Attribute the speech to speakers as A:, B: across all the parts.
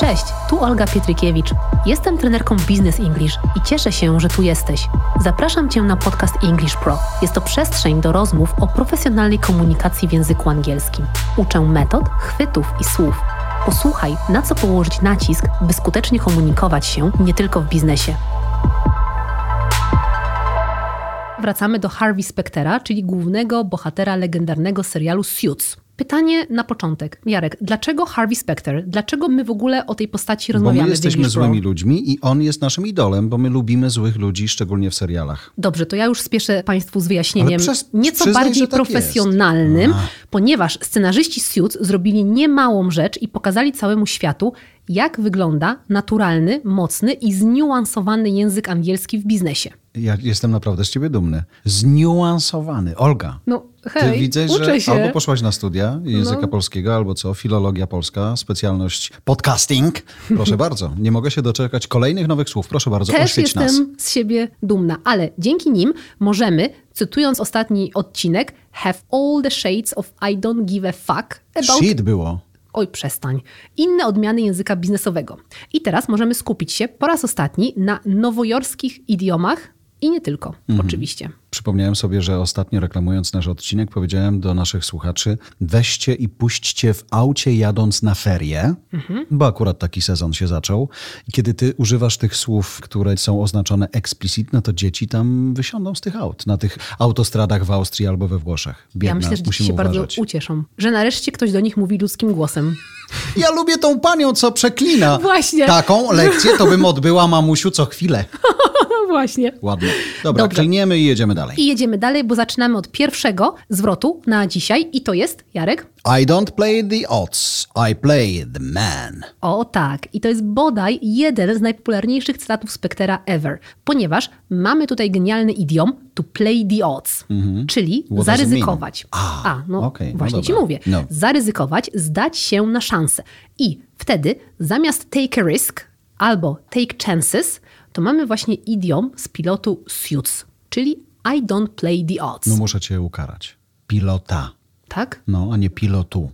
A: Cześć, tu Olga Pietrykiewicz. Jestem trenerką Business English i cieszę się, że tu jesteś. Zapraszam Cię na podcast English Pro. Jest to przestrzeń do rozmów o profesjonalnej komunikacji w języku angielskim. Uczę metod, chwytów i słów. Posłuchaj, na co położyć nacisk, by skutecznie komunikować się nie tylko w biznesie. Wracamy do Harvey Spectera, czyli głównego bohatera legendarnego serialu Suits. Pytanie na początek. Jarek, dlaczego Harvey Specter? Dlaczego my w ogóle o tej postaci
B: Bo
A: rozmawiamy?
B: my
A: w
B: jesteśmy
A: English Pro?
B: złymi ludźmi i on jest naszym idolem, bo my lubimy złych ludzi, szczególnie w serialach.
A: Dobrze, to ja już spieszę Państwu z wyjaśnieniem
B: Ale przez-
A: nieco
B: przyznaj,
A: bardziej
B: że tak jest.
A: profesjonalnym,
B: A.
A: ponieważ scenarzyści Suits zrobili niemałą rzecz i pokazali całemu światu, jak wygląda naturalny, mocny i zniuansowany język angielski w biznesie.
B: Ja jestem naprawdę z ciebie dumny. Zniuansowany. Olga,
A: No
B: ty
A: hej,
B: widzę,
A: uczę
B: że
A: się. No.
B: albo poszłaś na studia języka polskiego, albo co, filologia polska, specjalność podcasting. Proszę bardzo, nie mogę się doczekać kolejnych nowych słów. Proszę bardzo,
A: Też
B: oświeć
A: jestem
B: nas.
A: z siebie dumna, ale dzięki nim możemy, cytując ostatni odcinek, have all the shades of I don't give a fuck about
B: Shit było.
A: Oj, przestań. Inne odmiany języka biznesowego. I teraz możemy skupić się po raz ostatni na nowojorskich idiomach i nie tylko,
B: Mhm.
A: oczywiście.
B: Przypomniałem sobie, że ostatnio reklamując nasz odcinek, powiedziałem do naszych słuchaczy: weźcie i puśćcie w aucie jadąc na ferie,
A: Mhm.
B: bo akurat taki sezon się zaczął. I kiedy ty używasz tych słów, które są oznaczone explicit, no to dzieci tam wysiądą z tych aut, na tych autostradach w Austrii albo we Włoszech. Biedna,
A: ja myślę, że dzieci
B: musimy
A: się
B: uważać.
A: bardzo ucieszą, że nareszcie ktoś do nich mówi ludzkim głosem.
B: Ja lubię tą panią, co przeklina.
A: Właśnie.
B: Taką lekcję to bym odbyła mamusiu co chwilę.
A: No właśnie.
B: Ładnie. Dobra,
A: Dobrze.
B: kliniemy i jedziemy dalej.
A: I jedziemy dalej, bo zaczynamy od pierwszego zwrotu na dzisiaj i to jest, Jarek?
B: I don't play the odds, I play the man.
A: O tak, i to jest bodaj jeden z najpopularniejszych cytatów Spectera ever, ponieważ mamy tutaj genialny idiom to play the odds, czyli
B: What does it
A: zaryzykować.
B: mean? Mhm. A,
A: no
B: okej, no
A: właśnie ci
B: dobra.
A: mówię.
B: No.
A: Zaryzykować, zdać się na szansę. I wtedy zamiast take a risk albo take chances, to mamy właśnie idiom z pilotu Suits, czyli I don't play the odds.
B: No muszę cię ukarać. Pilota.
A: Tak?
B: No, a nie pilotu.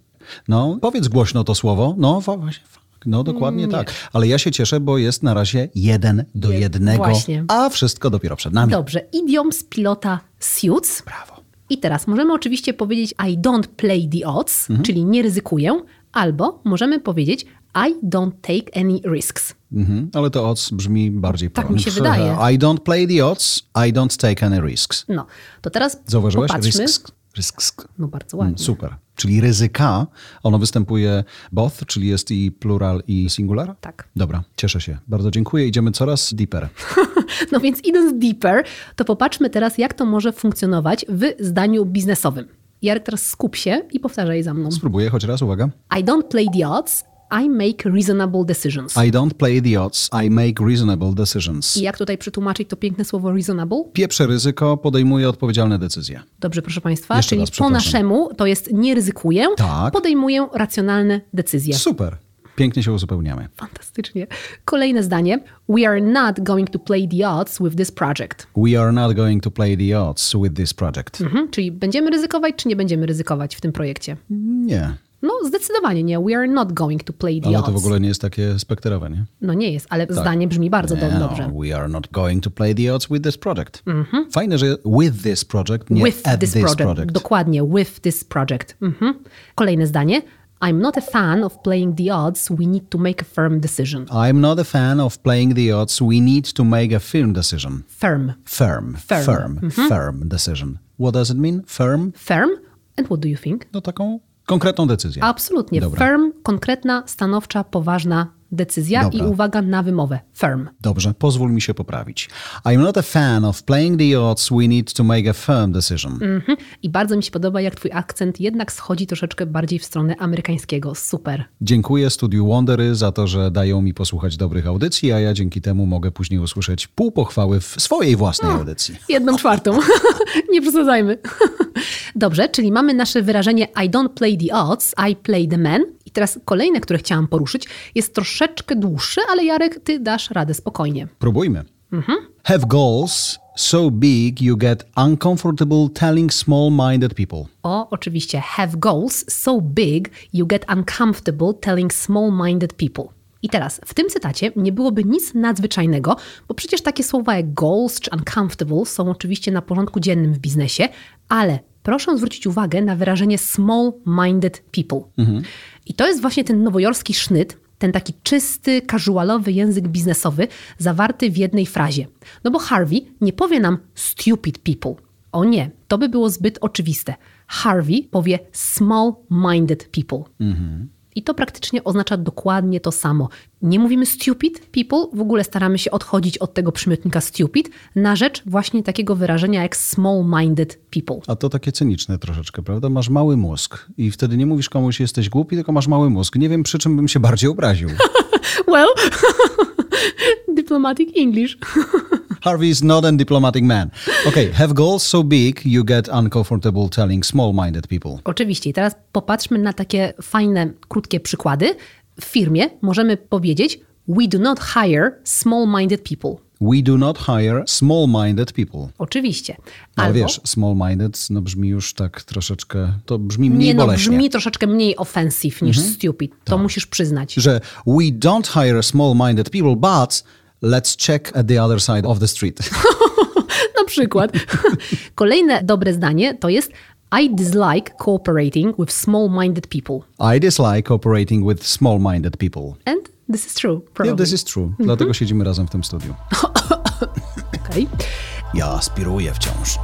B: No, powiedz głośno to słowo. No, wa- właśnie. fuck. No, dokładnie
A: Mm.
B: tak. Ale ja się cieszę, bo jest na razie jeden do jednego.
A: właśnie.
B: A wszystko dopiero przed nami.
A: Dobrze, idiom z pilota Suits.
B: Brawo.
A: I teraz możemy oczywiście powiedzieć I don't play the odds,
B: Mhm.
A: czyli nie ryzykuję, albo możemy powiedzieć I don't take any risks.
B: Mhm. Ale to odds brzmi bardziej
A: Tak
B: po-
A: mi się wydaje.
B: I don't play the odds, I don't take any risks.
A: No, to teraz
B: Zauważyłeś?
A: popatrzmy.
B: Risks. Risks.
A: No bardzo ładnie.
B: Super. Czyli ryzyka, ono występuje both, czyli jest i plural i singular?
A: Tak.
B: Dobra, cieszę się. Bardzo dziękuję. Idziemy coraz deeper. Mm.
A: No więc idąc deeper, to popatrzmy teraz jak to może funkcjonować w zdaniu biznesowym. Jarek, teraz skup się i powtarzaj za mną.
B: Spróbuję choć raz, uwaga.
A: I don't play the odds, I make reasonable decisions.
B: I don't play the odds, I make reasonable decisions.
A: I jak tutaj przetłumaczyć to piękne słowo reasonable?
B: Pieprzę ryzyko, podejmuję odpowiedzialne decyzje.
A: Dobrze, proszę Państwa,
B: Jeszcze
A: czyli
B: raz,
A: po
B: przepraszam.
A: naszemu to jest nie ryzykuję,
B: Tak.
A: podejmuję racjonalne decyzje.
B: Super. Pięknie się uzupełniamy.
A: Fantastycznie. Kolejne zdanie. We are not going to play the odds with this project.
B: We are not going to play the odds with this project.
A: Mhm. Czyli będziemy ryzykować, czy nie będziemy ryzykować w tym projekcie?
B: Nie,
A: No, zdecydowanie nie. We are not going to play the
B: ale
A: odds.
B: to w ogóle nie jest takie spekterowe, nie?
A: No nie jest, ale zdanie brzmi bardzo do-
B: Nie,
A: dobrze. Mhm.
B: no, we are not going to play the odds with this project. Fajne, że with this project, nie
A: with
B: at
A: this, project. Dokładnie, with this project. Mhm. Kolejne zdanie. I'm not a fan of playing the odds. We need to make a firm decision.
B: I'm not a fan of playing the odds. We need to make a firm decision.
A: Firm.
B: Firm,
A: Firm. Mhm.
B: firm, firm, decision. What does it mean? Firm?
A: Firm. And what do you think?
B: No taką konkretną decyzję.
A: Absolutnie.
B: Dobra.
A: Firm, konkretna, stanowcza, poważna decyzja i
B: Dobra.
A: uwaga na wymowę. Firm.
B: Dobrze, pozwól mi się poprawić. I'm not a fan of playing the odds. We need to make a firm decision.
A: Mhm. I bardzo mi się podoba, jak twój akcent jednak schodzi troszeczkę bardziej w stronę amerykańskiego. Super.
B: Dziękuję Studiu Wondery za to, że dają mi posłuchać dobrych audycji, a ja dzięki temu mogę później usłyszeć pół pochwały w swojej własnej audycji.
A: Jedną czwartą. Nie przesadzajmy. Dobrze, czyli mamy nasze wyrażenie I don't play the odds, I play the man. I teraz kolejne, które chciałam poruszyć, jest troszeczkę dłuższe, ale Jarek, ty dasz radę spokojnie.
B: Próbujmy. Have goals so big you get uncomfortable telling small-minded people.
A: O, oczywiście, have goals so big you get uncomfortable telling small-minded people. I teraz, w tym cytacie nie byłoby nic nadzwyczajnego, bo przecież takie słowa jak goals czy uncomfortable są oczywiście na porządku dziennym w biznesie, ale proszę zwrócić uwagę na wyrażenie small-minded people. I to jest właśnie ten nowojorski sznyt, ten taki czysty, casualowy język biznesowy zawarty w jednej frazie. No bo Harvey nie powie nam stupid people. O nie, to by było zbyt oczywiste. Harvey powie small-minded people. I to praktycznie oznacza dokładnie to samo. Nie mówimy stupid people, w ogóle staramy się odchodzić od tego przymiotnika stupid na rzecz właśnie takiego wyrażenia jak small-minded people.
B: A to takie cyniczne troszeczkę, prawda? Masz mały mózg i wtedy nie mówisz komuś jesteś głupi, tylko masz mały mózg. Nie wiem przy czym bym się bardziej obraził.
A: Well, diplomatic English.
B: Harvey is not a diplomatic man. Okay, have goals so big you get uncomfortable telling small-minded people.
A: Oczywiście. I teraz popatrzmy na takie fajne, krótkie przykłady. W firmie możemy powiedzieć: We do not hire small-minded people.
B: We do not hire small-minded people.
A: Oczywiście.
B: Ale
A: Albo-
B: No, wiesz, small-minded no brzmi już tak troszeczkę, to brzmi mniej
A: nie no,
B: boleśnie. Mhm. Tak.
A: brzmi troszeczkę mniej offensive niż stupid. To musisz przyznać.
B: Że we don't hire small-minded people, but let's check at the other side of the street.
A: Na przykład. Kolejne dobre zdanie to jest I dislike cooperating with small-minded people.
B: I dislike operating with small-minded people.
A: And this is true,
B: Yeah,
A: probably.
B: this is true.
A: Mhm.
B: Dlatego siedzimy razem w tym studiu.
A: Okay.
B: Ja aspiruję wciąż.